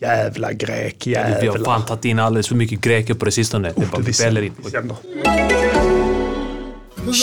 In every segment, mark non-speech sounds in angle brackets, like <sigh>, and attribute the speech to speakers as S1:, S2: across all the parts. S1: Jävla grek,
S2: Vi har
S1: jävla.
S2: fan tagit in alldeles för mycket greker Äh, på det sistone. Det bara väller in.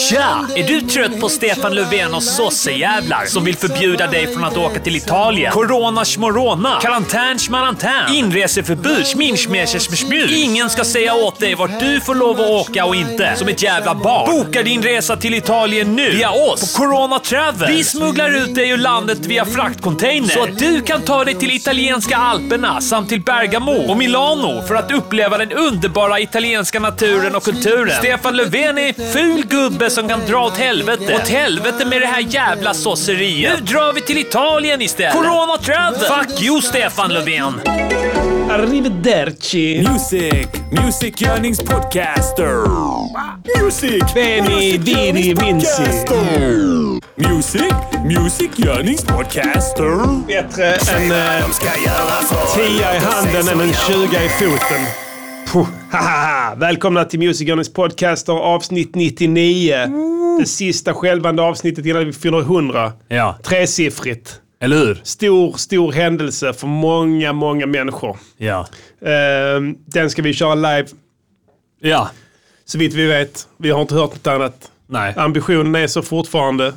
S3: Tja! Är du trött på Stefan Löfven och sossejävlar som vill förbjuda dig från att åka till Italien? Corona schmorona, karantän schmarantän, inreseförbud, schminschmeschersmschmjus. Ingen ska säga åt dig vart du får lov att åka och inte. Som ett jävla barn. Boka din resa till Italien nu via oss på Corona Travel. Vi smugglar ut dig ur landet via fraktcontainer så att du kan ta dig till italienska alperna samt till Bergamo och Milano för att uppleva den underbara italienska naturen och kulturen. Stefan Löfven är en ful gubbe som kan dra åt helvete. Åt helvete med det här jävla sosseriet. Nu drar vi till Italien istället. Corona travel! Fuck you Stefan Löfven!
S1: Arrivederci.
S2: Music! Music podcaster! Music!
S1: Veni, vidi, vinci.
S2: Music! Music podcaster!
S1: Bättre än eh, tia i handen än en tjuga i foten. Puh, hahaha. Välkomna till Music Earnings Podcaster avsnitt 99. Det sista självande avsnittet innan vi fyller 100.
S2: Ja,
S1: Tresiffrigt.
S2: eller hur?
S1: Stor, stor händelse för många, många människor.
S2: Ja.
S1: Ehm, den ska vi köra live,
S2: Ja.
S1: så vitt vi vet. Vi har inte hört något annat.
S2: Nej.
S1: Ambitionen är så fortfarande.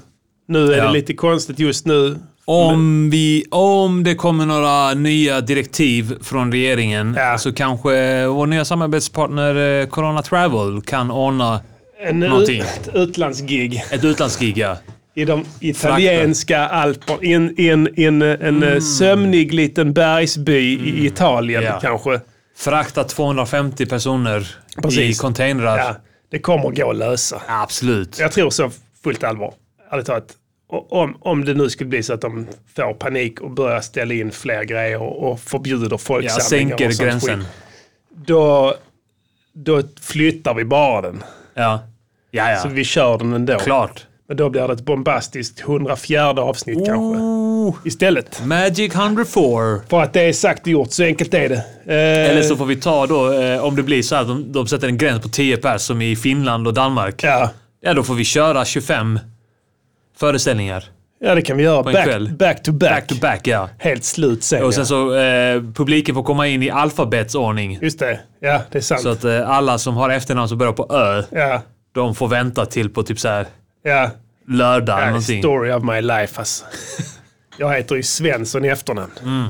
S1: Nu är
S2: Ja.
S1: det lite konstigt just nu.
S2: Om, vi, om det kommer några nya direktiv från regeringen
S1: Ja.
S2: så kanske vår nya samarbetspartner eh, Corona Travel kan ordna
S1: En ut,
S2: Någonting.
S1: ett utlandsgig.
S2: ett utlandsgiga.
S1: I de italienska alperna. I en, i en, i en, en eh, sömnig liten bergsby i Italien
S2: Mm. Ja.
S1: kanske.
S2: Frakta 250 personer
S1: Precis.
S2: i containrar.
S1: Ja, det kommer gå att lösa.
S2: Absolut.
S1: Jag tror så fullt allvar. Ärligt talat. O- Om, om det nu skulle bli så att de får panik och börjar ställa in fler grejer och, och förbjuder
S2: Jag
S1: folksamlingar och
S2: sänker
S1: sånt
S2: gränsen.
S1: skit, Då, då flyttar vi bara den.
S2: Ja. Ja, ja.
S1: Så vi kör den ändå.
S2: Klart.
S1: Men då blir det ett bombastiskt 104 avsnitt
S2: Oh.
S1: kanske. Istället.
S2: Magic 104.
S1: För att det är sagt och gjort, så enkelt är det. Eh,
S2: Eller så får vi ta då, eh, om det blir så här att de, de sätter en gräns på 10 pers som i Finland och Danmark.
S1: Ja,
S2: Ja, då får vi köra 25 föreställningar.
S1: ja det kan vi göra.
S2: en kväll.
S1: Back, back to back.
S2: Back to back, ja.
S1: Helt slut sen.
S2: Och sen så eh, publiken får komma in i alfabetsordning.
S1: ja. Just det. Ja, det är sant.
S2: Så att eh, alla som har efternamn som börjar på Ö,
S1: ja,
S2: de får vänta till på typ så här
S1: ja.
S2: lördag eller
S1: ja
S2: någonting.
S1: story of my life alltså.
S2: <laughs>
S1: Jag heter ju Svensson i efternamn.
S2: Mm.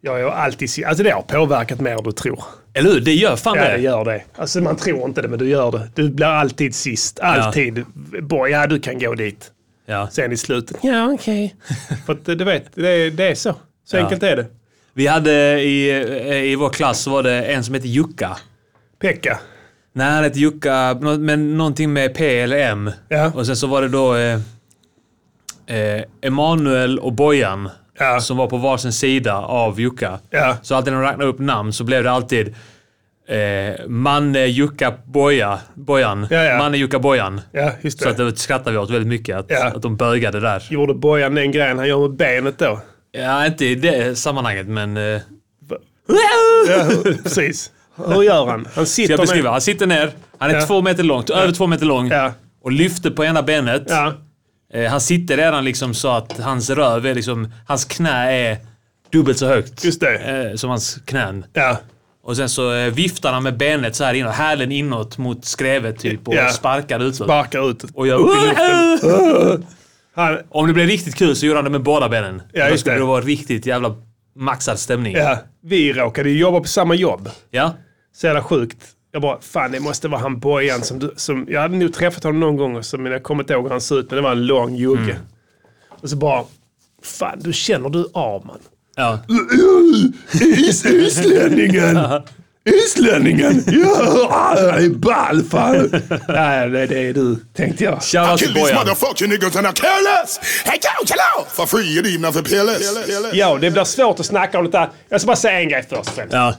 S1: Jag är alltid... Alltså det har påverkat mer än du tror.
S2: Eller hur? Det gör fan
S1: Ja,
S2: det.
S1: det gör det. Alltså man tror inte det, men du gör det. Du blir alltid sist. Alltid. Ja, ja du kan gå dit.
S2: Ja.
S1: Sen i slutet. Ja,
S2: <laughs>
S1: okej. För att du vet, det är, det är så. Så
S2: Ja.
S1: enkelt är det.
S2: Vi hade i, eh, i vår klass så var det en som hette Jukka.
S1: Pekka.
S2: Nej, han hette Jukka, nå- men någonting med P eller M.
S1: Ja.
S2: Och sen så var det då eh, eh, Emanuel och Bojan
S1: Ja.
S2: som var på varsin sida av Jukka.
S1: Ja.
S2: Så alltid när de räknade upp namn så blev det alltid eh, Manne Jukka Boja, Bojan.
S1: Ja, ja.
S2: Manne Jukka Bojan.
S1: Ja, just det.
S2: Så att det skrattade vi åt väldigt mycket, att,
S1: Ja.
S2: att de bögade där.
S1: Gjorde Bojan den grejen han gör med benet då?
S2: Ja, inte i det sammanhanget, men... Eh,
S1: <laughs> Precis. Hur gör han? Han
S2: ska
S1: sitter
S2: jag beskriva? Han sitter ner, han är
S1: Ja.
S2: två meter lång, över två meter lång.
S1: Ja.
S2: Och lyfter på ena benet.
S1: med... Ja.
S2: Eh, han sitter redan liksom så att hans röv är liksom... Hans knä är dubbelt så högt
S1: Just det.
S2: Eh, som hans knän.
S1: Ja.
S2: Och sen så eh, viftar han med benet så här inåt, hälen inåt mot skrevet typ och
S1: Ja.
S2: sparkar utåt.
S1: Barkar ut.
S2: och jag
S1: upp i luften. Han,
S2: Om det blev riktigt kul så gjorde han det med båda benen.
S1: Ja,
S2: Då
S1: just
S2: skulle
S1: det.
S2: det vara riktigt jävla maxad stämning.
S1: ja. Vi råkade ju jobba på samma jobb.
S2: Ja.
S1: Så jävla sjukt. Jag bara, fan det måste vara han Bojan som, du- som Jag hade nog träffat honom någon gång, och så, men jag kommer inte ihåg hur han såg ut. Men det var en lång jugge.
S2: Mm.
S1: Och så bara, fan du känner du av man. <laughs>
S2: ja.
S1: Is, islänningen! Islänningen! Ja,
S4: ah,
S1: det är ball fan! Nej, det, det är du, tänkte jag.
S2: Shoutout
S4: Kill
S2: till
S4: these
S2: Bojan.
S4: motherfucking niggas and I care less. Hey, yo, chill out. For free, you need nothing peerless.
S1: Ja, det blir svårt att snacka om det där. Jag ska bara säga en grej först och främst.
S2: Ja.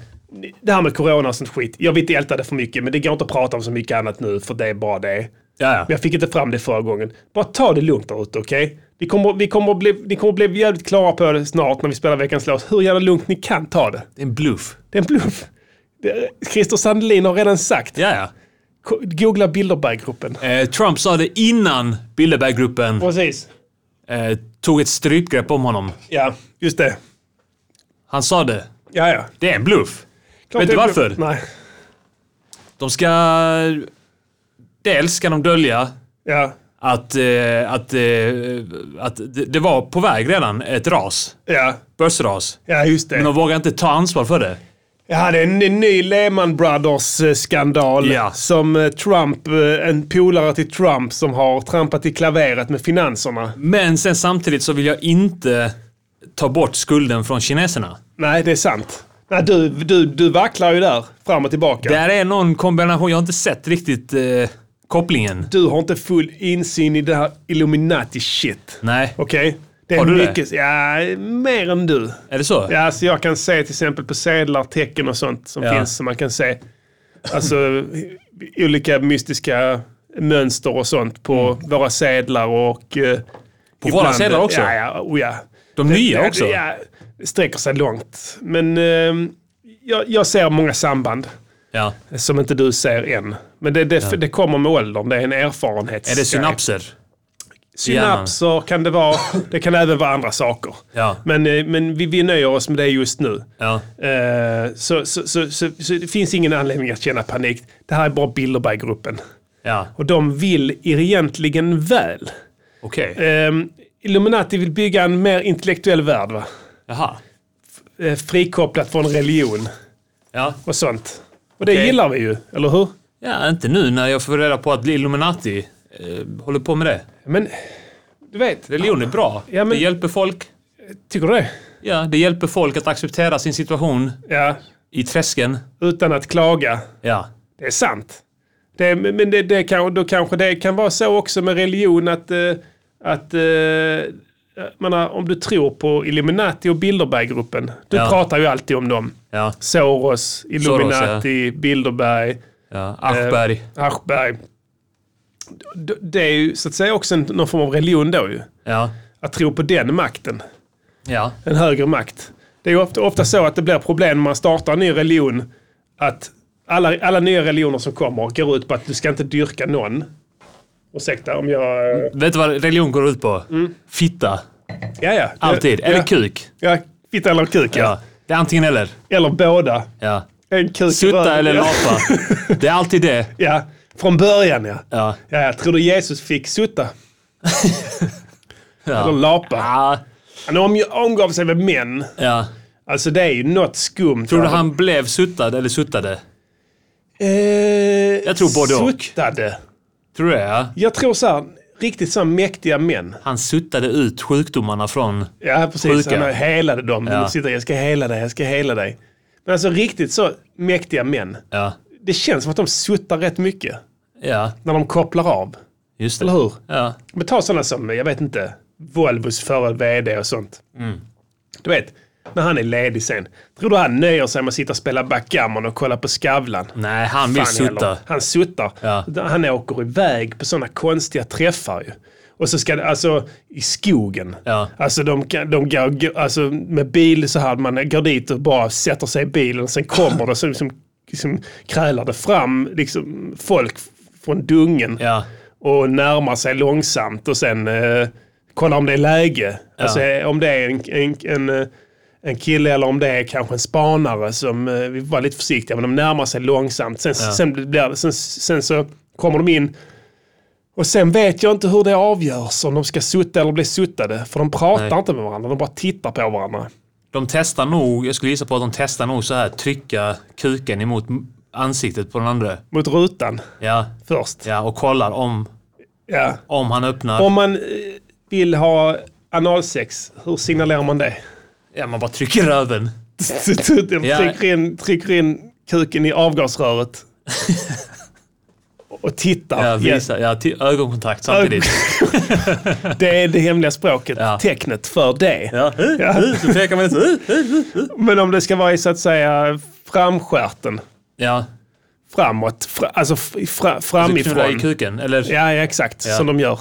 S1: Det här med corona och sånt skit. Jag vill inte älta det för mycket, men det går inte att prata om så mycket annat nu, för det är bara det.
S2: Ja,
S1: Men
S2: ja.
S1: jag fick inte fram det förra gången. Bara ta det lugnt där ute, okej? Vi kommer, vi, kommer att bli, ni kommer att bli jävligt klara på det snart när vi spelar veckans låt. Hur jävla lugnt ni kan ta det.
S2: Det är en bluff.
S1: Det är en bluff. Det- Christer Sandelin har redan sagt.
S2: Ja, ja.
S1: Ko- Googla Bilderberggruppen.
S2: Eh, Trump sa det innan Bilderberggruppen
S1: Precis.
S2: eh, tog ett strypgrepp om honom.
S1: Ja, just det.
S2: Han sa det.
S1: Ja, ja.
S2: Det är en bluff.
S1: Klart
S2: Vet
S1: det
S2: du
S1: är-
S2: varför?
S1: Nej.
S2: De ska... Dels ska de dölja
S1: Ja.
S2: att, eh, att, eh, att det det var på väg redan ett ras.
S1: Ja.
S2: Börsras.
S1: Ja, just det.
S2: Men de vågar inte ta ansvar för det.
S1: Ja, det är en ny Lehman Brothers-skandal.
S2: Ja.
S1: Som eh, Trump, eh, en polare till Trump som har trampat i klaveret med finanserna.
S2: Men sen samtidigt så vill jag inte ta bort skulden från kineserna.
S1: Nej, det är sant. Nej, du, du, du vacklar ju där, fram och tillbaka.
S2: Där är någon kombination, jag har inte sett riktigt eh, kopplingen.
S1: Du har inte full insyn i det här Illuminati-shit.
S2: Nej,
S1: Okej? Det är
S2: Har du det?
S1: mycket, det? Ja, mer än du.
S2: är det så?
S1: Ja, så jag kan se till exempel på sedlar, tecken och sånt som
S2: Ja.
S1: finns som man kan se. Alltså olika mystiska mönster och sånt på våra sedlar och... eh,
S2: Mm. våra sedlar också?
S1: Ja, ja, oh, ja.
S2: De nya också?
S1: Ja, det sträcker sig långt. Men eh, jag, jag ser många samband
S2: Ja.
S1: som inte du ser än. Men det, det, det kommer med åldern, det är en erfarenhetsgrej.
S2: Är det synapser?
S1: Synapser kan det vara. Det kan även vara andra saker.
S2: Ja.
S1: Men, eh, men vi, vi nöjer oss med det just nu.
S2: Ja.
S1: Eh, Så, så, så, så, så det finns ingen anledning att känna panik. Det här är bara Bilderberggruppen.
S2: Ja,
S1: Och de vill egentligen väl.
S2: okej.
S1: Ehm, Illuminati vill bygga en mer intellektuell värld. Va?
S2: Jaha.
S1: Eh, Frikopplat från religion
S2: Ja.
S1: och sånt. Och det
S2: Okej.
S1: gillar vi ju, eller hur?
S2: ja, inte nu när jag får reda på att Illuminati eh, håller på med det.
S1: Men du vet,
S2: Religion är bra.
S1: Ja, men-
S2: Det hjälper folk.
S1: tycker du det?
S2: Ja, det hjälper folk att acceptera sin situation
S1: Ja,
S2: i träsken.
S1: utan att klaga.
S2: Ja.
S1: Det är sant. Det, men det, det kan, då kanske det kan vara så också med religion att, eh, att eh, jag menar, om du tror på Illuminati och Bilderberggruppen. Du
S2: Ja.
S1: pratar ju alltid om dem.
S2: Ja.
S1: Soros, Illuminati, Bilderberg,
S2: ja. Aschberg.
S1: eh, Aschberg. D- Det är ju så att säga också en, någon form av religion då ju.
S2: Ja.
S1: Att tro på den makten,
S2: Ja.
S1: en högre makt. Det är ju ofta, ofta så att det blir problem när man startar en ny religion. Att alla, alla nya religioner som kommer går ut på att du ska inte dyrka någon. Ursäkta om jag... eh,
S2: Vet du vad religion går ut på? Fitta.
S1: Mm. Ja, ja.
S2: Alltid.
S1: Ja,
S2: Eller kuk.
S1: Ja, fitta eller kuk ja.
S2: Ja. Det är antingen eller.
S1: Eller båda.
S2: Ja.
S1: En kuk i
S2: Sutta
S1: röven,
S2: eller
S1: ja.
S2: lapa. Det är alltid det.
S1: Ja, från början ja.
S2: Ja.
S1: Ja, jag tror du Jesus fick sutta? Eller
S2: Ja.
S1: lapa?
S2: Ja.
S1: Han omg- omgav sig med män.
S2: ja.
S1: Alltså det är ju något skumt.
S2: Tror du han blev suttad eller suttade?
S1: Eh,
S2: Jag tror både och.
S1: Suttade.
S2: Tror du det? Ja.
S1: Jag tror så här, riktigt så här mäktiga män.
S2: Han suttade ut sjukdomarna från...
S1: Ja, precis.
S2: Sjuka.
S1: Han har helade dem.
S2: Ja.
S1: De sitter jag ska hela dig, jag ska hela dig. Men alltså riktigt så mäktiga män.
S2: Ja.
S1: Det känns som att de suttar rätt mycket
S2: Ja.
S1: när de kopplar av.
S2: Just det.
S1: Eller hur?
S2: Ja.
S1: Men ta sådana som, jag vet inte, Volvos förre vd och sånt. Du vet, när han är ledig sen. Tror du han nöjer sig med att sitta och spela backgammon och kolla på Skavlan?
S2: Nej, han vill
S1: Fan heller.
S2: sutta.
S1: Han suttar.
S2: Ja.
S1: Han åker iväg på sådana konstiga träffar ju. Och så ska det, alltså i skogen.
S2: Ja.
S1: Alltså de, kan- de går, går- alltså med bil så här, man går dit och bara sätter sig i bilen. Sen kommer det som, som, som krälar det fram liksom, folk från dungen.
S2: Ja.
S1: Och närmar sig långsamt och sen eh, kollar om det är läge. Alltså eh, om det är en, en, en, eh, en kille eller om det är kanske en spanare som, eh, vi var lite försiktiga, men de närmar sig långsamt. Sen, sen, blir det, sen, sen så kommer de in och sen vet jag inte hur det avgörs om de ska sutta eller bli suttade. För de pratar
S2: Nej.
S1: inte med varandra, de bara tittar på varandra.
S2: De testar nog, jag skulle gissa på att de testar nog så här trycka kuken emot m- ansiktet på den andra.
S1: Mot rutan
S2: Ja.
S1: först.
S2: Ja, och kollar om,
S1: Ja.
S2: om han öppnar.
S1: Om man eh, vill ha analsex, hur signalerar man det?
S2: Ja, man bara trycker röven.
S1: De
S2: Ja.
S1: trycker in, trycker in kuken i avgasröret. Och tittar.
S2: Ja, visa, ja, till ögonkontakt samtidigt.
S1: Ja, Det är det hemliga språket,
S2: Ja.
S1: tecknet för det. <laughs>
S2: Ja, så pekar man lite.
S1: Men om det ska vara i så att säga framskärten,
S2: Ja,
S1: framåt, fra, alltså fra,
S2: så knullar i
S1: framifrån.
S2: kuken. Eller,
S1: Ja, ja, exakt.
S2: Ja.
S1: Som de gör.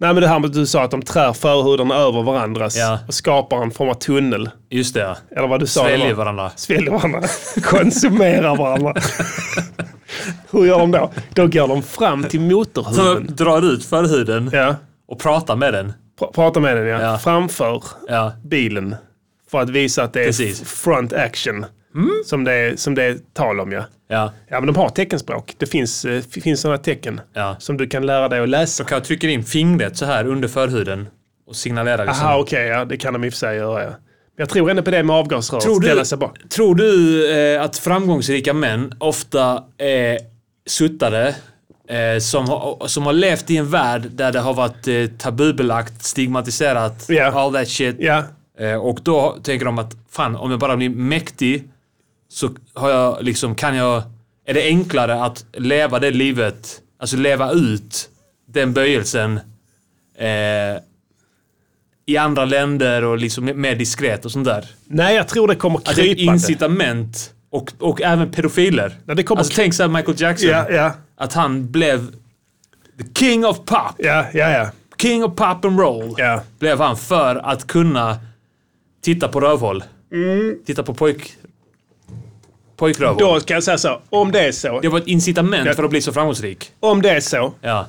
S1: Nej, men det här med att du sa att de trär förhudarna över varandras
S2: Ja.
S1: och skapar en form av tunnel.
S2: just det. ja.
S1: Eller vad du sa. det
S2: Sväljer
S1: var.
S2: varandra.
S1: sväljer varandra, konsumerar varandra. Hur gör de då? Då går de fram till
S2: Så
S1: motorhuven.
S2: drar ut förhuden
S1: Ja.
S2: och pratar med den.
S1: Pr- prata med den ja.
S2: Ja.
S1: Framför
S2: Ja,
S1: bilen. För att visa att det är
S2: Precis. Mm.
S1: f- front action. Som, det är, som det är tal om ja.
S2: Ja.
S1: Ja men de har teckenspråk. Det finns, eh, f- finns sådana tecken
S2: Ja.
S1: som du kan lära dig att läsa.
S2: Kan jag trycka in fingret så här under förhuden och signalera liksom.
S1: Aha, okej, ja, det kan de i och för sig göra. Ja. Men jag tror ändå på det med avgasrör.
S2: Tror
S1: Ställa
S2: du,
S1: sig bak.
S2: tror du eh, att framgångsrika män ofta är suttare eh, som, har- som har levt i en värld där det har varit eh, tabubelagt, stigmatiserat,
S1: Ja.
S2: all that shit.
S1: Ja,
S2: Eh, och då tänker de att fan, om jag bara blir mäktig så har jag liksom, kan jag, är det enklare att leva det livet, alltså leva ut den böjelsen eh, i andra länder och liksom mer diskret och sånt där.
S1: nej jag tror det kommer
S2: Att Alltså, det är ett
S1: krypande.
S2: incitament och, och även pedofiler.
S1: Ja, det kommer
S2: alltså
S1: kry-
S2: tänk såhär Michael Jackson.
S1: Ja, ja,
S2: Att han blev the king of pop.
S1: ja, ja, ja.
S2: King of pop and roll.
S1: Ja.
S2: Blev han för att kunna titta på rövhål. Titta på pojk... Pojkrövhål.
S1: Mm. Då kan jag säga så, om det är så,
S2: Det var ett incitament
S1: Ja.
S2: för att bli så framgångsrik.
S1: om det är så,
S2: Ja.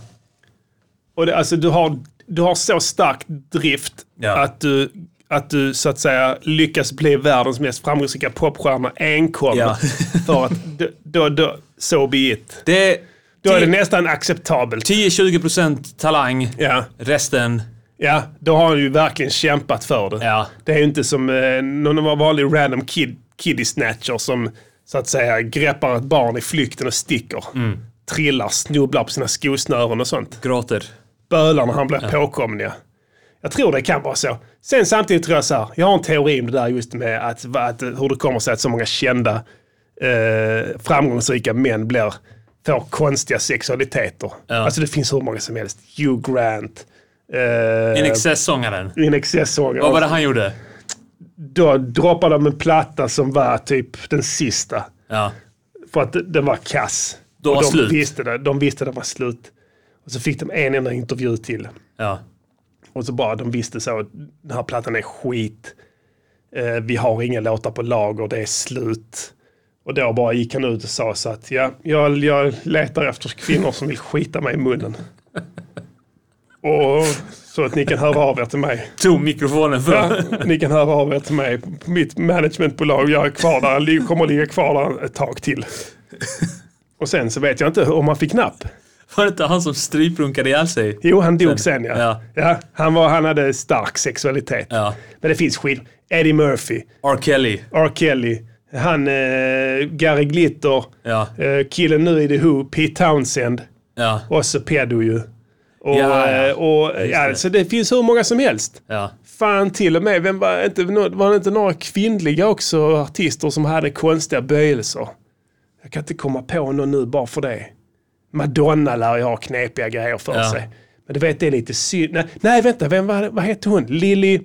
S1: och det, alltså du har, du har så stark drift
S2: Ja.
S1: att, du, att du så att säga lyckas bli världens mest framgångsrika popstjärna enkom.
S2: Ja.
S1: <laughs> för att d- då, då, so be it.
S2: Det är
S1: Då är det nästan acceptabelt.
S2: 10-20% talang.
S1: Ja,
S2: Resten...
S1: ja, då har han ju verkligen kämpat för det.
S2: Ja.
S1: Det är ju inte som eh, någon vanlig random kid, kiddie snatcher som så att säga greppar ett barn i flykten och sticker.
S2: Mm.
S1: Trillar, snubblar på sina skosnören och sånt.
S2: Gråter.
S1: bölar när han blir påkommen. Ja. Jag tror det kan vara så. Sen samtidigt tror jag så här, jag har en teori om det där just med att, va- att eh, hur det kommer sig att så många kända eh, framgångsrika män blir, får konstiga sexualiteter. Alltså det finns hur många som helst. Hugh Grant,
S2: In
S1: eh,
S2: Excess-sångaren.
S1: In excess
S2: Vad var det han gjorde?
S1: Då droppade de en platta som var typ den sista.
S2: Ja.
S1: För att den var kass.
S2: Då var
S1: Och de,
S2: slut.
S1: Visste det, de visste det var slut. Och så fick de en enda intervju till.
S2: Ja.
S1: Och så bara de visste så, den här plattan är skit. Eh, vi har inga låtar på lager, det är slut. Och då bara gick han ut och sa så att ja, jag, jag letar efter kvinnor som vill skita mig i
S2: <laughs>
S1: munnen. Och så att ni kan höra av er till mig.
S2: Tog mikrofonen för...
S1: Ja, ni kan höra av er till mig på mitt managementbolag. Jag är kvar där, jag kommer att ligga kvar där ett tag till. Och sen så vet jag inte om han fick napp.
S2: Var det inte han som stryprunkade ihjäl sig?
S1: Jo, han dog sen ja.
S2: Ja.
S1: han, var, han hade stark sexualitet.
S2: Ja.
S1: Men det finns skill. Eddie Murphy,
S2: R. Kelly.
S1: R. Kelly, han eh, Gary Glitter,
S2: Ja.
S1: eh, killen nu i The Who, Pete Townsend,
S2: Ja.
S1: också pedo ju. Och,
S2: Ja, ja.
S1: eh, och, ja,
S2: det.
S1: Så det finns hur många som helst.
S2: Ja.
S1: Fan till och med, vem var, inte, var det inte några kvinnliga också artister som hade konstiga böjelser? Jag kan inte komma på någon nu bara för det. Madonna lär ju ha knepiga grejer för
S2: Ja.
S1: sig. Men du vet, det är lite synd. Nej, nej vänta, vem var, det- vad hette hon? Lily...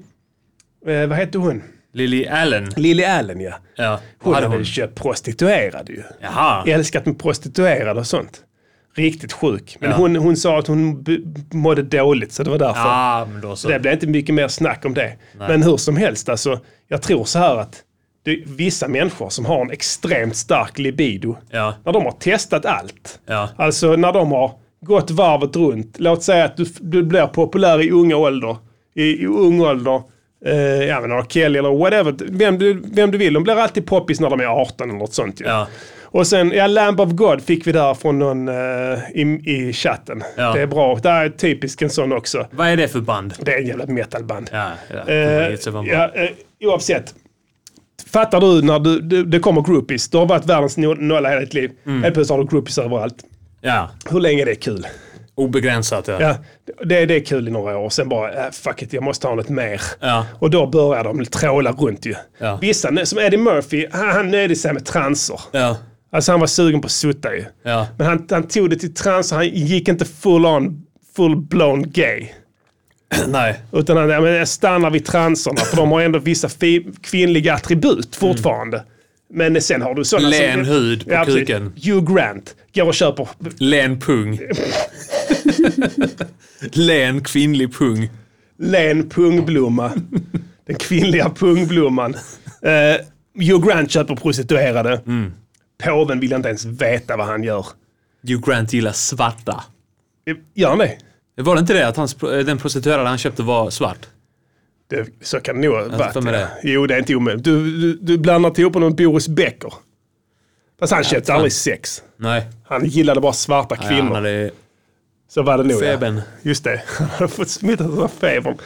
S1: Eh, vad hette hon?
S2: Lily Allen.
S1: Lily Allen ja.
S2: Ja.
S1: Hon
S2: Vad
S1: hade
S2: hade hon?
S1: väl köpt prostituerade ju.
S2: Jaha.
S1: Älskat med prostituerade och sånt. Riktigt sjuk. Men hon, hon sa att hon b- mådde dåligt så det var därför.
S2: Ja, men då så.
S1: Så det blir inte mycket mer snack om det. Men hur som helst, alltså, jag tror så här att det är vissa människor som har en extremt stark libido,
S2: Ja.
S1: när de har testat allt,
S2: Ja.
S1: alltså när de har gått varvet runt, låt säga att du, du blir populär i unga ålder, i, i ung ålder, eh, ja men R. Kelly eller whatever, vem du, vem du vill, de blir alltid poppis när de är 18 eller något sånt ju.
S2: Ja.
S1: Och sen, ja, Lamb of God fick vi där från någon eh, i, i chatten.
S2: Ja.
S1: Det är bra. Det här är typiskt en sån också.
S2: Vad är det för band?
S1: Det är en jävla metalband.
S2: Ja, ja.
S1: Eh,
S2: It's a band.
S1: ja, eh, oavsett. Fattar du när du, du, det kommer groupies, du har varit världens no- nolla hela ditt liv.
S2: Mm.
S1: Helt plötsligt har du groupies överallt.
S2: ja.
S1: Hur länge är det kul?
S2: Obegränsat, ja.
S1: Ja, det, det är kul i några år, sen bara äh, fuck it, jag måste ha något mer.
S2: Ja.
S1: Och då börjar de tråla runt ju.
S2: Ja.
S1: Vissa, som Eddie Murphy, han, han nöjde sig med transer.
S2: Ja. <clears throat>
S1: Alltså han var sugen på att sutta ju.
S2: Ja.
S1: Men han, han tog det till trans, han gick inte full on, full blown gay.
S2: Nej.
S1: Utan han ja, men jag stannar vid transerna, för de har ändå vissa fi- kvinnliga attribut fortfarande. Men sen har du sådana
S2: Mm. Len hud på
S1: precis.
S2: kuken.
S1: Hugh Grant går och köper...
S2: Len pung. <laughs> Len kvinnlig pung.
S1: Len
S2: <laughs>
S1: pungblomma. Den kvinnliga pungblomman. Eh, Hugh Grant köper prostituerade.
S2: Mm.
S1: Påven vill inte ens veta vad han gör.
S2: Hugh Grant gillar svarta.
S1: Gör han det?
S2: eh, Var det inte det att hans, den prostituerade han köpte var svart?
S1: Det, så kan det nog ha
S2: för
S1: varit.
S2: mig
S1: ja.
S2: det.
S1: Jo, det är inte omöjligt. Du, du, du blandar ihop honom med Boris Becker. Fast han köpte aldrig sex.
S2: Nej.
S1: Han gillade bara svarta
S2: Nej, han
S1: kvinnor.
S2: hade
S1: Så var det nog
S2: febern.
S1: Ja. Just det, <laughs> han hade fått smittat av febern.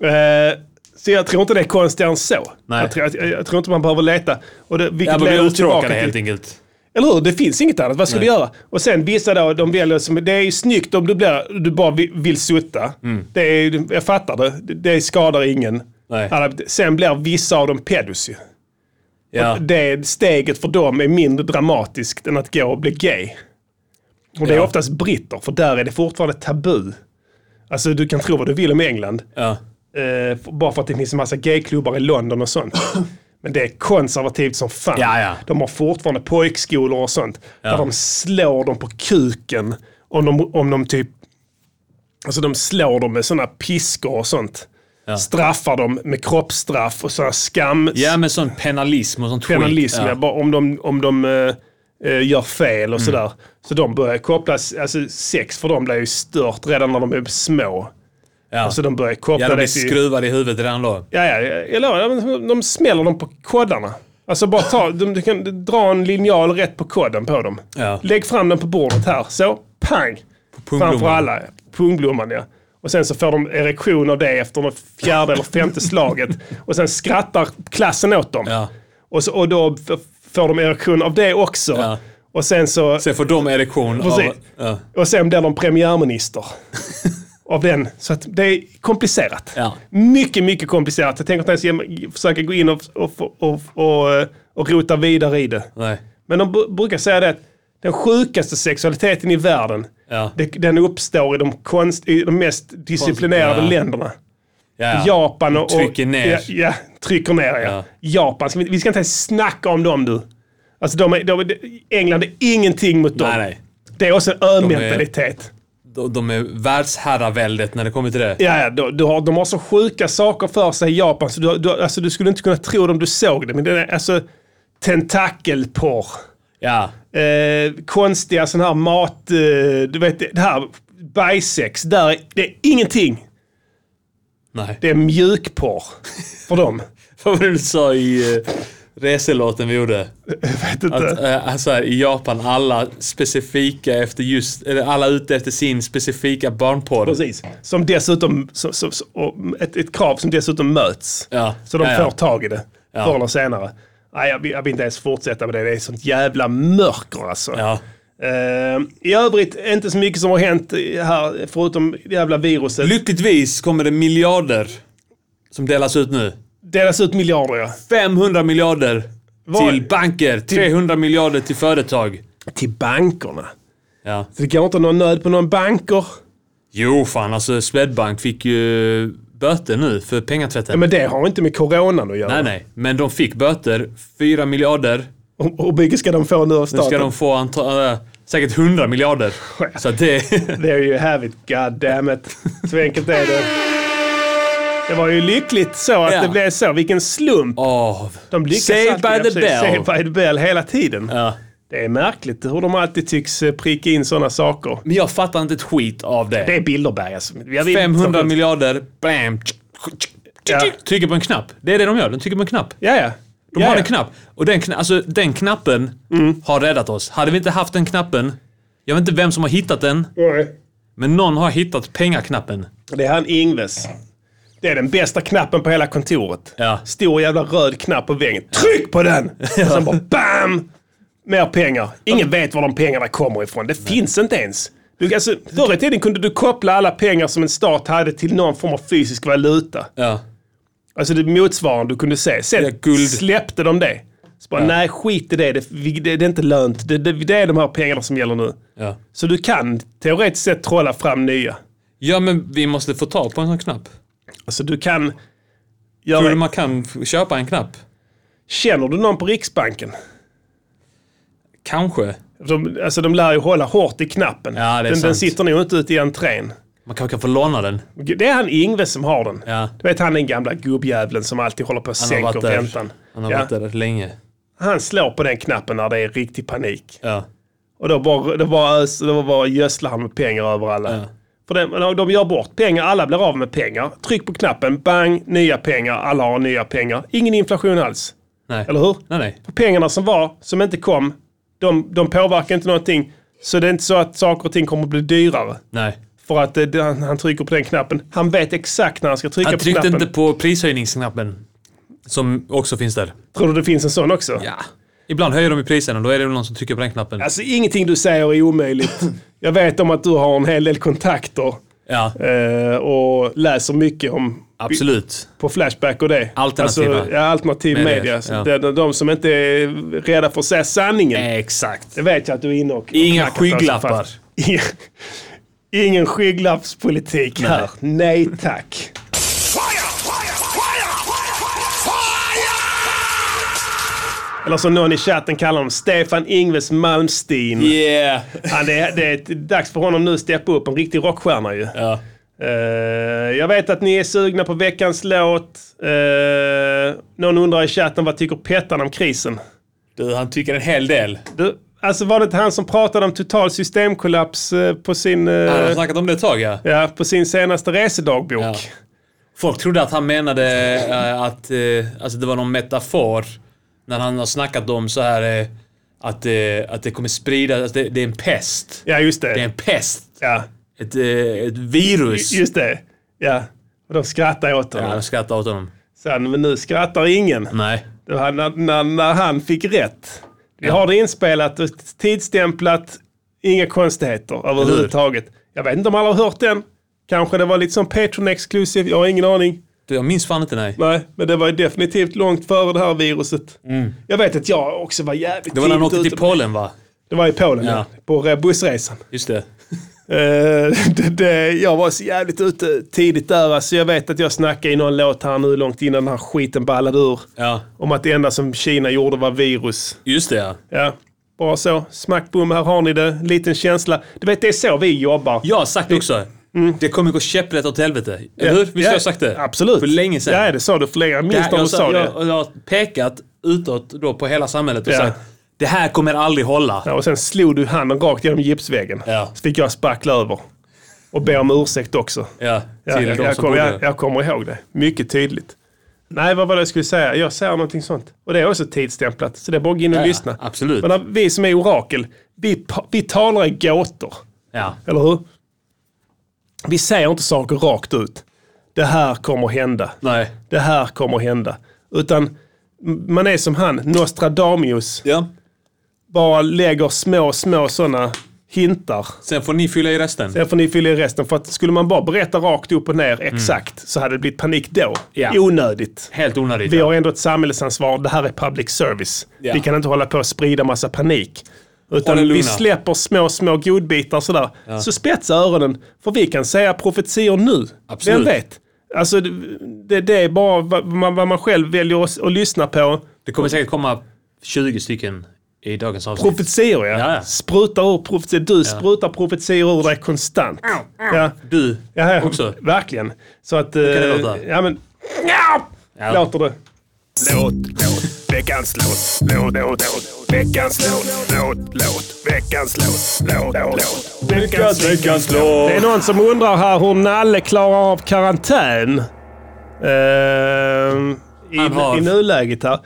S1: Eh, så jag tror inte det är konstigare än så.
S2: Nej.
S1: Jag, tror, jag, jag tror inte man behöver leta. Och det, vilket
S2: Ja, men
S1: leder
S2: blir
S1: oss tillbaka
S2: uttråkade
S1: till-
S2: helt enkelt.
S1: Eller hur? Det finns inget annat. Vad ska du göra? Och sen vissa då, de väljer som, det är ju snyggt om du, blir, du bara vill, vill sutta.
S2: Mm.
S1: Det är, jag fattar det. Det, det skadar ingen.
S2: Nej.
S1: Alla, sen blir vissa av dem pedos ju.
S2: Ja.
S1: Det steget för dem är mindre dramatiskt än att gå och bli gay. Och det är
S2: Ja.
S1: oftast britter, för där är det fortfarande tabu. Alltså du kan tro vad du vill om England.
S2: Ja.
S1: Eh, för- bara för att det finns en massa gayklubbar i London och
S2: <coughs>
S1: sånt. Men det är konservativt som fan.
S2: Ja, ja.
S1: De har fortfarande pojkskolor och sånt. Där de slår dem på kuken. Om de, om de typ... Alltså de slår dem med sådana piskor och sånt. Straffar dem med kroppsstraff och sådana skam...
S2: ja, men sån penalism och sånt
S1: Penalism,
S2: skit.
S1: ja.
S2: Ja. Mm.
S1: bara om de, om de eh, eh, gör fel och sådär. Så de börjar kopplas, alltså sex för dem blir ju stört redan när de är små.
S2: Ja.
S1: Så de börjar koppla
S2: ja, de blir
S1: det till...
S2: skruvade i huvudet redan då.
S1: Ja, ja, jag lovar. De, de smäller dem på koddarna. Alltså bara ta, de, du kan dra en linjal rätt på kodden på dem.
S2: Ja.
S1: Lägg fram den på bordet här. Så, pang! Framför
S2: pungblomman.
S1: alla. Pungblomman, ja. Och sen så får de erektion av det efter det fjärde eller femte slaget. Och sen skrattar klassen åt dem.
S2: Ja.
S1: Och, så, och då f- får de erektion av det också.
S2: Ja.
S1: Och sen så...
S2: Sen får de erektion av...
S1: Precis.
S2: Ja.
S1: Och sen blir de premiärminister.
S2: <laughs>
S1: av den. Så att det är komplicerat.
S2: Ja.
S1: Mycket, mycket komplicerat. Jag tänker inte ens ge mig- försöka gå in och, och, och, och, eh, och rota vidare i det.
S2: Nej.
S1: Men de br- brukar säga det att den sjukaste sexualiteten i världen,
S2: Ja.
S1: det, den uppstår i de, konst, i de mest disciplinerade
S2: Konst- ja.
S1: länderna.
S2: Ja, ja.
S1: Japan och... och
S2: Trycker ner.
S1: Ja, ja trycker ner ja.
S2: Ja.
S1: Japan, ska vi, vi ska inte ens snacka om dem du. Alltså de är, de är, England är ingenting mot dem.
S2: Nej, nej.
S1: Det är också en ömentalitet.
S2: De, de är världsherraväldet när det kommer till det.
S1: Ja, ja du, du har, de har så sjuka saker för sig i Japan så du, du, alltså, du skulle inte kunna tro det om du såg det. Men det är alltså tentakelporr.
S2: Ja.
S1: Eh, konstiga sådana här mat... Eh, du vet, det här bajsex. Där, är- det är ingenting.
S2: Nej. <laughs>
S1: Det är mjukporr för dem.
S2: Vad var det du sa i eh, reselåten vi gjorde?
S1: Jag vet inte.
S2: Att, eh, alltså här, I Japan, alla specifika efter just, eller alla ute efter sin specifika barnporr.
S1: Precis. Som dessutom, så, så, så, och ett, ett krav som dessutom möts.
S2: Ja.
S1: Så de
S2: Ja,
S1: får
S2: ja.
S1: tag i det förr eller senare. Nej, jag, vill- jag vill inte ens fortsätta med det. Det är sånt jävla mörker alltså.
S2: Ja.
S1: Eh, I övrigt, inte så mycket som har hänt här förutom det jävla viruset.
S2: Lyckligtvis kommer det miljarder som delas ut nu.
S1: Delas ut miljarder ja.
S2: 500 miljarder
S1: Var-
S2: till banker, 300 miljarder till företag.
S1: Till bankerna.
S2: Ja.
S1: Så det går inte någon nöd på någon banker.
S2: Jo fan, alltså Swedbank fick ju böter nu för
S1: Ja,
S2: pengatvätten.
S1: men det har inte med coronan att göra.
S2: Nej nej, men de fick böter, 4 miljarder.
S1: Och, och mycket ska de få nu av
S2: Nu
S1: staten?
S2: ska de få anta, äh, säkert 100 miljarder. Så att det... <laughs>
S1: Det är ju hävigt. God damn it. Så enkelt är det. Det var ju lyckligt så att
S2: Ja.
S1: det blev så. Vilken slump.
S2: Åh.
S1: De lyckas
S2: Saved
S1: alltid-
S2: by
S1: ja,
S2: the
S1: precis. Saved
S2: bell.
S1: by the bell hela tiden.
S2: Ja.
S1: Det är märkligt hur de alltid tycks eh, pricka in sådana saker.
S2: Men jag fattar inte ett skit av det.
S1: Det är Bilderberg alltså. Jag vet-
S2: 500 miljarder, bam, tsk, tsk,
S1: Ja.
S2: tsk, trycker på en knapp. Det är det de gör, de trycker på en knapp.
S1: Ja, ja. ja,
S2: De har
S1: ja. Mm.
S2: en knapp. Och den, kna- alltså, den knappen har räddat oss. Hade vi inte haft den knappen, jag vet inte vem som har hittat den,
S1: Nej.
S2: men någon har hittat pengaknappen.
S1: Det är han Ingves. Det är den bästa knappen på hela kontoret.
S2: Ja.
S1: Stor jävla röd knapp på väggen. Tryck på
S2: <laughs>
S1: den! Och sen bara BAM! Mer pengar. Ingen vet var de pengarna kommer ifrån. Det finns inte ens. Du, alltså, förr i tiden kunde du koppla alla pengar som en stat hade till någon form av fysisk valuta.
S2: Ja.
S1: Alltså det motsvarande du kunde se. Sen
S2: Ja, guld.
S1: släppte de det. Så bara, nej skit i det. Det, vi- det. det är inte lönt. Det, det, det är de här pengarna som gäller nu.
S2: Ja.
S1: Så du kan teoretiskt sett trolla fram nya.
S2: ja, men vi måste få tag på en sån knapp.
S1: Alltså du kan...
S2: Tror
S1: Göra
S2: du man kan f- köpa en knapp?
S1: Känner du någon på Riksbanken?
S2: Kanske.
S1: De, alltså de lär ju hålla hårt i knappen.
S2: Ja, det är
S1: den, den
S2: sant.
S1: sitter nog inte ute i entrén.
S2: Man kanske kan få låna den.
S1: Det är han Ingves som har den.
S2: Ja.
S1: Du vet han den gamla gubbjäveln som alltid håller på och
S2: Han har
S1: sänker
S2: varit där,
S1: räntan.
S2: han har
S1: Ja.
S2: varit där rätt länge.
S1: Han slår på den knappen när det är riktig panik.
S2: Ja.
S1: Och då bara, då bara, ös, då bara gödslar han med pengar över alla. För det, de gör bort pengar, alla blir av med pengar. Tryck på knappen, bang, nya pengar, alla har nya pengar. Ingen inflation alls.
S2: Nej.
S1: Eller hur?
S2: Nej, nej.
S1: För pengarna som var, som inte kom, de, de påverkar inte någonting. Så det är inte så att saker och ting kommer att bli dyrare.
S2: nej.
S1: För att eh, det- han, han trycker på den knappen. Han vet exakt när han ska trycka
S2: Han
S1: på
S2: tryckte
S1: knappen.
S2: inte på prishöjningsknappen. Som också finns där.
S1: Tror du det finns en sån också?
S2: Ja. Ibland höjer de ju priserna och då är det väl någon som trycker på den knappen.
S1: Alltså ingenting du säger är
S2: <laughs>
S1: omöjligt. Jag vet om att du har en hel del kontakter
S2: Ja,
S1: eh, och läser mycket om
S2: absolut.
S1: på Flashback och det.
S2: Alternativa.
S1: Alltså, ja, alternativ
S2: Medier,
S1: media. Så
S2: ja.
S1: Det är de, de som inte är rädda för att säga sanningen.
S2: Exakt.
S1: Det vet jag att du är inne och... och
S2: Inga
S1: knackar på, så
S2: skygglappar.
S1: fast- <laughs> Ingen skygglappspolitik här. Nej tack.
S4: Fire! Fire! Fire! Fire!
S1: Eller som någon i chatten kallar honom, Stefan Ingves Malmsteen.
S2: Yeah.
S1: Ja, det, är, det är dags för honom nu att steppa upp, en riktig rockstjärna ju.
S2: Ja.
S1: Eh, jag vet att ni är sugna på veckans låt. Eh, någon undrar i chatten, vad tycker Pettan om krisen?
S2: Du, han tycker en hel del.
S1: Du, alltså var det inte han som pratade om total systemkollaps eh, på sin, eh,
S2: Han har snackat om det ett tag, ja.
S1: ja, på sin senaste resedagbok?
S2: Ja. Folk trodde att han menade eh, att eh, alltså det var någon metafor när han har snackat om så här eh, att, eh, att det kommer sprida, alltså det, det är en pest.
S1: Ja, just det.
S2: Det är en pest.
S1: Ja,
S2: Ett, eh, ett virus.
S1: just det. Ja. Och de skrattar åt
S2: Ja,
S1: honom.
S2: jag skrattar åt honom.
S1: Sen, men nu skrattar ingen.
S2: Nej.
S1: Det var när, när, när han fick rätt. Vi har det inspelat och tidsstämplat. Inga konstigheter överhuvudtaget. Jag vet inte om alla har hört den. Kanske det var lite som Patreon exclusive. Jag har ingen aning.
S2: Du, jag minns fan inte, nej.
S1: Nej, men det var ju definitivt långt före det här viruset. Jag vet att jag också var jävligt
S2: Mm. Det var när han
S1: tidigt
S2: åkte till
S1: ute.
S2: Polen, va?
S1: Det var i Polen, ja.
S2: Ja.
S1: På re- bussresan.
S2: Just det.
S1: Eh, <laughs> det, det, jag var så jävligt ute tidigt där. Alltså, jag vet att jag snackade i någon låt här nu långt innan den här skiten ballade ur.
S2: Ja,
S1: Om att det enda som Kina gjorde var virus.
S2: just det ja.
S1: Ja, bara så. Smack, bom, här har ni det. Liten känsla. Du vet, det är så vi jobbar.
S2: Jag har sagt det också.
S1: Mm.
S2: Det kommer gå käpprätt åt helvete. Eller hur? Visst har jag sagt det?
S1: Absolut.
S2: För länge sedan.
S1: Ja, det sa du för länge. Jag
S2: Det
S1: minns
S2: här,
S1: när du
S2: jag,
S1: sa
S2: sa,
S1: det.
S2: jag, jag har pekat utåt då på hela samhället och
S1: Ja.
S2: sagt det här kommer aldrig hålla.
S1: Ja, och sen slog du handen rakt genom gipsväggen.
S2: Ja.
S1: Så fick jag spackla över. Och be om ursäkt också.
S2: Ja,
S1: Ja,
S2: till
S1: jag,
S2: de
S1: jag,
S2: som
S1: kommer,
S2: bodde.
S1: jag, jag kommer ihåg det. Mycket tydligt. Nej, vad var det jag skulle säga? Jag säger någonting sånt. Och det är också tidsstämplat. Så det är bara att gå in och
S2: Ja, ja,
S1: lyssna.
S2: absolut.
S1: Men när, vi som är orakel, vi, pa- vi talar i gåtor.
S2: Ja.
S1: Eller hur? Vi säger inte saker rakt ut. Det här kommer hända.
S2: Nej.
S1: Det här kommer hända. Utan m- man är som han, Nostradamus.
S2: Ja.
S1: Bara lägger små, små sådana hintar.
S2: Sen får ni fylla i resten.
S1: Sen får ni fylla i resten. För att skulle man bara berätta rakt upp och ner exakt så hade det blivit panik då.
S2: Ja.
S1: Onödigt.
S2: Helt onödigt.
S1: Vi
S2: ja.
S1: har ändå ett samhällsansvar. Det här är public service.
S2: Ja.
S1: Vi kan inte hålla på och sprida massa panik.
S2: Håll er
S1: Utan vi
S2: lugna.
S1: släpper små, små godbitar sådär. Så spetsa öronen, för vi kan säga profetior nu.
S2: Absolut.
S1: Vem vet? Alltså, det, det är bara vad man, vad man själv väljer att, att lyssna på.
S2: Det kommer säkert komma 20 stycken i dagens avsnitt.
S1: Profetior, ja.
S2: Ja, ja.
S1: Spruta ur profetior. Du sprutar profetior ur dig konstant. Ja.
S2: Du
S1: Ja, ja,
S2: också.
S1: Verkligen. Så att...
S2: kan det
S1: eh,
S2: låta.
S1: Ja, men...
S2: Ja.
S1: Låter det.
S4: Låt, låt, veckans låt, låt, låt, låt, veckans låt, låt, låt, veckans låt, låt, låt, veckans, veckans låt.
S1: Det är någon som undrar här hur Nalle klarar av karantän. Ehm,
S2: Han
S1: i,
S2: har-
S1: I nuläget här.
S2: Han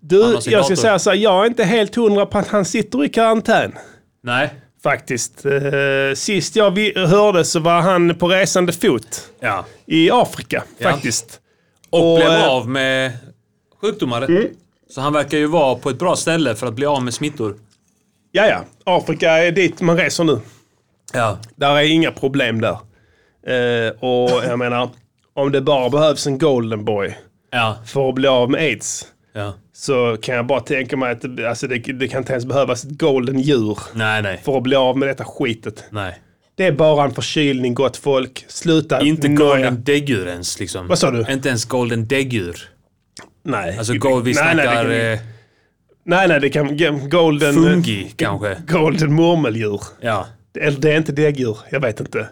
S1: Du,
S2: har sin
S1: jag ska
S2: dator.
S1: säga så här, jag är inte helt hundra på att han sitter i karantän.
S2: Nej.
S1: Faktiskt. Eh, sist jag vi- hörde så var han på resande fot
S2: Ja.
S1: i Afrika. Faktiskt.
S2: Och,
S1: Och,
S2: blev
S1: eh, Mm.
S2: av med sjukdomar. Så han verkar ju vara på ett bra ställe för att bli av med smittor.
S1: Ja, ja. Afrika är dit man reser nu.
S2: Ja.
S1: Där är inga problem där. Eh, och jag menar, om det bara behövs en golden boy
S2: Ja.
S1: för att bli av med aids.
S2: ja.
S1: så kan jag bara tänka mig att det- alltså det, det kan inte ens behövas ett golden djur
S2: Nej, nej.
S1: för att bli av med detta skitet.
S2: Nej.
S1: Det är bara en förkylning, gott folk. Sluta
S2: Inte
S1: nöja-
S2: golden däggdjur ens liksom.
S1: Vad sa du?
S2: Inte ens golden däggdjur.
S1: Nej.
S2: Alltså go, vi
S1: nej,
S2: snackar
S1: nej, det,
S2: eh,
S1: nej, nej, det kan... g- Golden...
S2: fungi kanske.
S1: <laughs> Golden murmeldjur.
S2: Ja. <laughs>
S1: Eller det är inte däggdjur. Jag vet inte.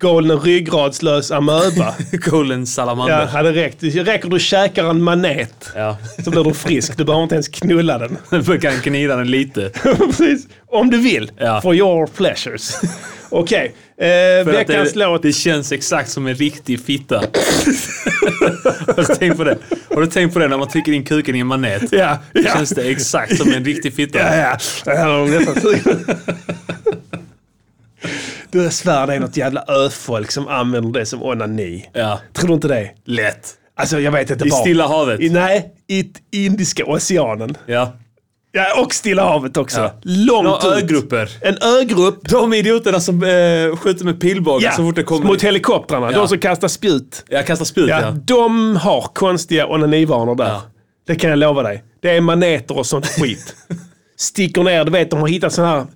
S1: golden ryggradslös
S2: <laughs>
S1: amöba.
S2: Golden
S1: Ja,
S2: salamander.
S1: hade räckt. Det räcker du käkar en manet
S2: Ja.
S1: så blir du frisk. Du behöver inte ens knulla den. <laughs>
S2: <laughs> Du kan knida den lite.
S1: Precis. Om du vill.
S2: Ja.
S1: For your
S2: <laughs>
S1: pleasures. Okej. Eh,
S2: För att
S1: veckans
S2: det,
S1: låt.
S2: Det känns exakt som en riktig fitta. <laughs> Har du tänkt på det? Har du tänkt på det när man trycker in kuken i en manet?
S1: Ja, ja.
S2: Känns det exakt
S1: <laughs>
S2: som en riktig fitta?
S1: Ja, ja. Det här har de nästan
S2: <laughs>
S1: skrivit. Du, jag svär det är något jävla öfolk som använder det som onani.
S2: Ja.
S1: Tror du inte det?
S2: Lätt.
S1: Alltså jag vet inte
S2: I
S1: var.
S2: Stilla havet.
S1: I, nej, i t- Indiska oceanen.
S2: Ja.
S1: Ja, och Stilla havet också.
S2: Ja.
S1: Långt
S2: Några
S1: ut.
S2: ögrupper.
S1: En ögrupp.
S2: De idioterna som eh, skjuter med pilbågar
S1: Ja,
S2: så fort det kommer...
S1: mot helikoptrarna.
S2: Ja.
S1: De som kastar spjut.
S2: Jag kastar spjut
S1: Ja,
S2: ja.
S1: De har konstiga onanivanor där.
S2: Ja.
S1: Det kan jag lova dig. Det är maneter och sånt
S2: <laughs>
S1: skit. Sticker ner, du vet de har hittat sådana här,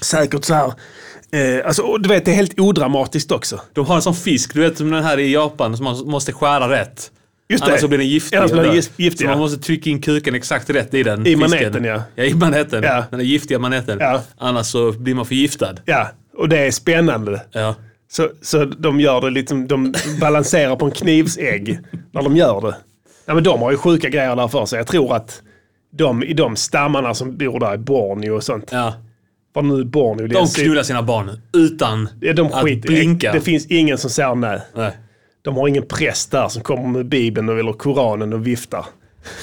S1: säkert så här, eh, alltså, och du vet det är helt odramatiskt också.
S2: De har en sån fisk, du vet som den här i Japan som man måste skära rätt.
S1: Just det.
S2: Annars så blir den giftig.
S1: Annars blir den
S2: och dör.
S1: gif- giftig,
S2: så
S1: ja.
S2: man måste trycka in kuken exakt rätt i den. I
S1: maneten, ja.
S2: Ja, i maneten.
S1: Ja.
S2: Den där giftiga maneten.
S1: Ja.
S2: Annars så blir man förgiftad.
S1: Ja, och det är spännande.
S2: Ja.
S1: Så, så de gör det liksom, de balanserar på en knivsägg när de gör det. Nej, men de har ju sjuka grejer där för sig. Jag tror att de, i de stammarna som bor där i Borneo och sånt.
S2: ja.
S1: Vad nu Borneo
S2: De
S1: det är-
S2: knullar sina barn utan
S1: Ja, de
S2: att
S1: skiter i-
S2: blinka.
S1: Det finns ingen som säger nej.
S2: Nej.
S1: De har ingen präst där som kommer med Bibeln och- eller Koranen och viftar.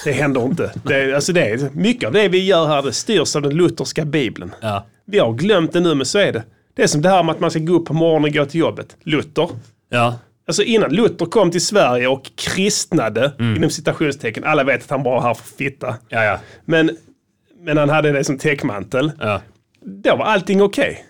S1: Det händer inte. Det, är- alltså det, är- mycket av det vi gör här det styrs av den lutherska Bibeln.
S2: Ja.
S1: Vi har glömt det nu, men så är det. Det är som det här med att man ska gå upp på morgonen och gå till jobbet. Luther.
S2: Ja.
S1: Alltså innan Luther kom till Sverige och kristnade, inom citationstecken, alla vet att han bara var här för fitta.
S2: Ja, ja.
S1: Men, men han hade det som täckmantel.
S2: Ja.
S1: Då var allting okej.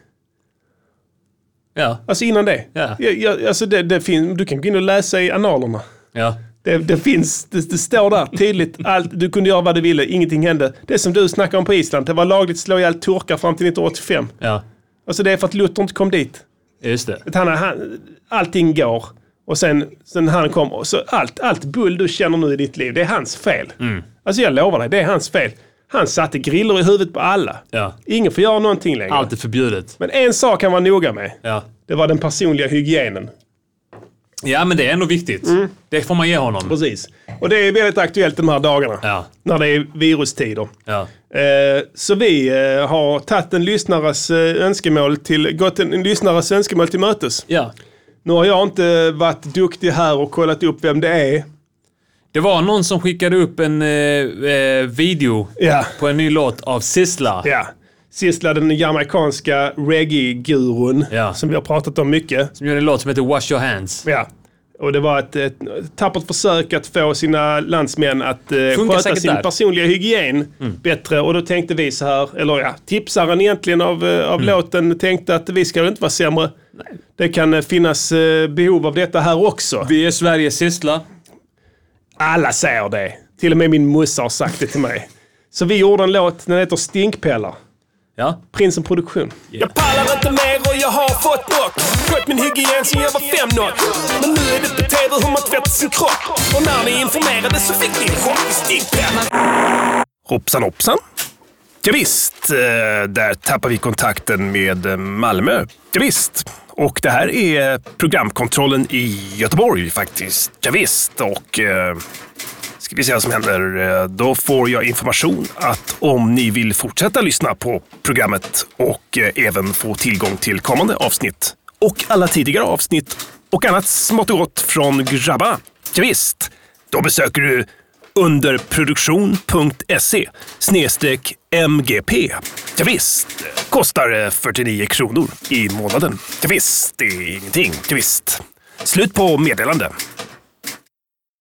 S2: Ja.
S1: Alltså innan det.
S2: Ja.
S1: Ja, ja, alltså det, det finns, du kan gå in och läsa i analerna.
S2: Ja.
S1: Det, det finns, det, det står där tydligt. Allt, du kunde göra vad du ville, ingenting hände. Det som du snackar om på Island, det var lagligt att slå ihjäl turkar fram till 1985.
S2: Ja.
S1: Alltså det är för att Luther inte kom dit.
S2: Just det.
S1: Att han, han, allting går. Och sen, sen han kom, och så allt, allt bull du känner nu i ditt liv, det är hans fel.
S2: Mm.
S1: Alltså jag lovar dig, det är hans fel. Han satte griller i huvudet på alla.
S2: Ja.
S1: Ingen får göra någonting längre.
S2: Allt är förbjudet.
S1: Men en sak han var noga med.
S2: Ja.
S1: Det var den personliga hygienen.
S2: ja, men det är ändå viktigt. Det får man ge honom.
S1: Precis. Mm. Och det är väldigt aktuellt de här dagarna.
S2: Ja.
S1: När det är virustider.
S2: Ja.
S1: Eh, Så vi eh, har tagit en lyssnares eh, önskemål till, gått en, en lyssnares önskemål till mötes.
S2: Ja.
S1: Nu har jag inte varit duktig här och kollat upp vem det är.
S2: Det var någon som skickade upp en eh, eh, video
S1: Ja.
S2: på en ny låt av Sissla.
S1: Ja. Sissla, den jamaicanska reggae-gurun
S2: Ja.
S1: som vi har pratat om mycket.
S2: Som gjorde en låt som heter Wash Your Hands.
S1: Ja. Och det var ett, ett tappert försök att få sina landsmän att eh, sköta
S2: säkert
S1: sin
S2: där. Mm.
S1: personliga hygien bättre. Och då tänkte vi så här, eller ja, tipsaren egentligen av, eh,
S2: Mm.
S1: av låten tänkte att vi ska väl inte vara sämre. Det kan eh, finnas eh, behov av detta här också.
S2: Vi är Sveriges Sissla.
S1: Alla säger det. Till och med min morsa har sagt det till mig. Så vi gjorde en låt, den heter Stinkpellar.
S2: Ja.
S1: Prinsen Produktion.
S4: Jag pallar inte mer och jag har fått nog. Skött min hygien sen jag var fem nåt. Men nu är det på TV hur man tvättar sin kropp. Och när ni informerade så fick ni en chock i stickpennan. Hoppsan hoppsan. Ja, visst, eh, där tappar vi kontakten med eh, Malmö. Ja, visst. Och det här är programkontrollen i Göteborg faktiskt. Ja, visst. och... eh, ska vi se vad som händer. Eh, Då får jag information att om ni vill fortsätta lyssna på programmet och eh, även få tillgång till kommande avsnitt och alla tidigare avsnitt och annat smått och gott från Grabba. Ja, visst, då besöker du underproduktion.se snedstreck MGP. Ja, visst, kostar eh, 49 kronor i månaden. Ja, visst, det är ingenting. Ja, visst. Slut på meddelande.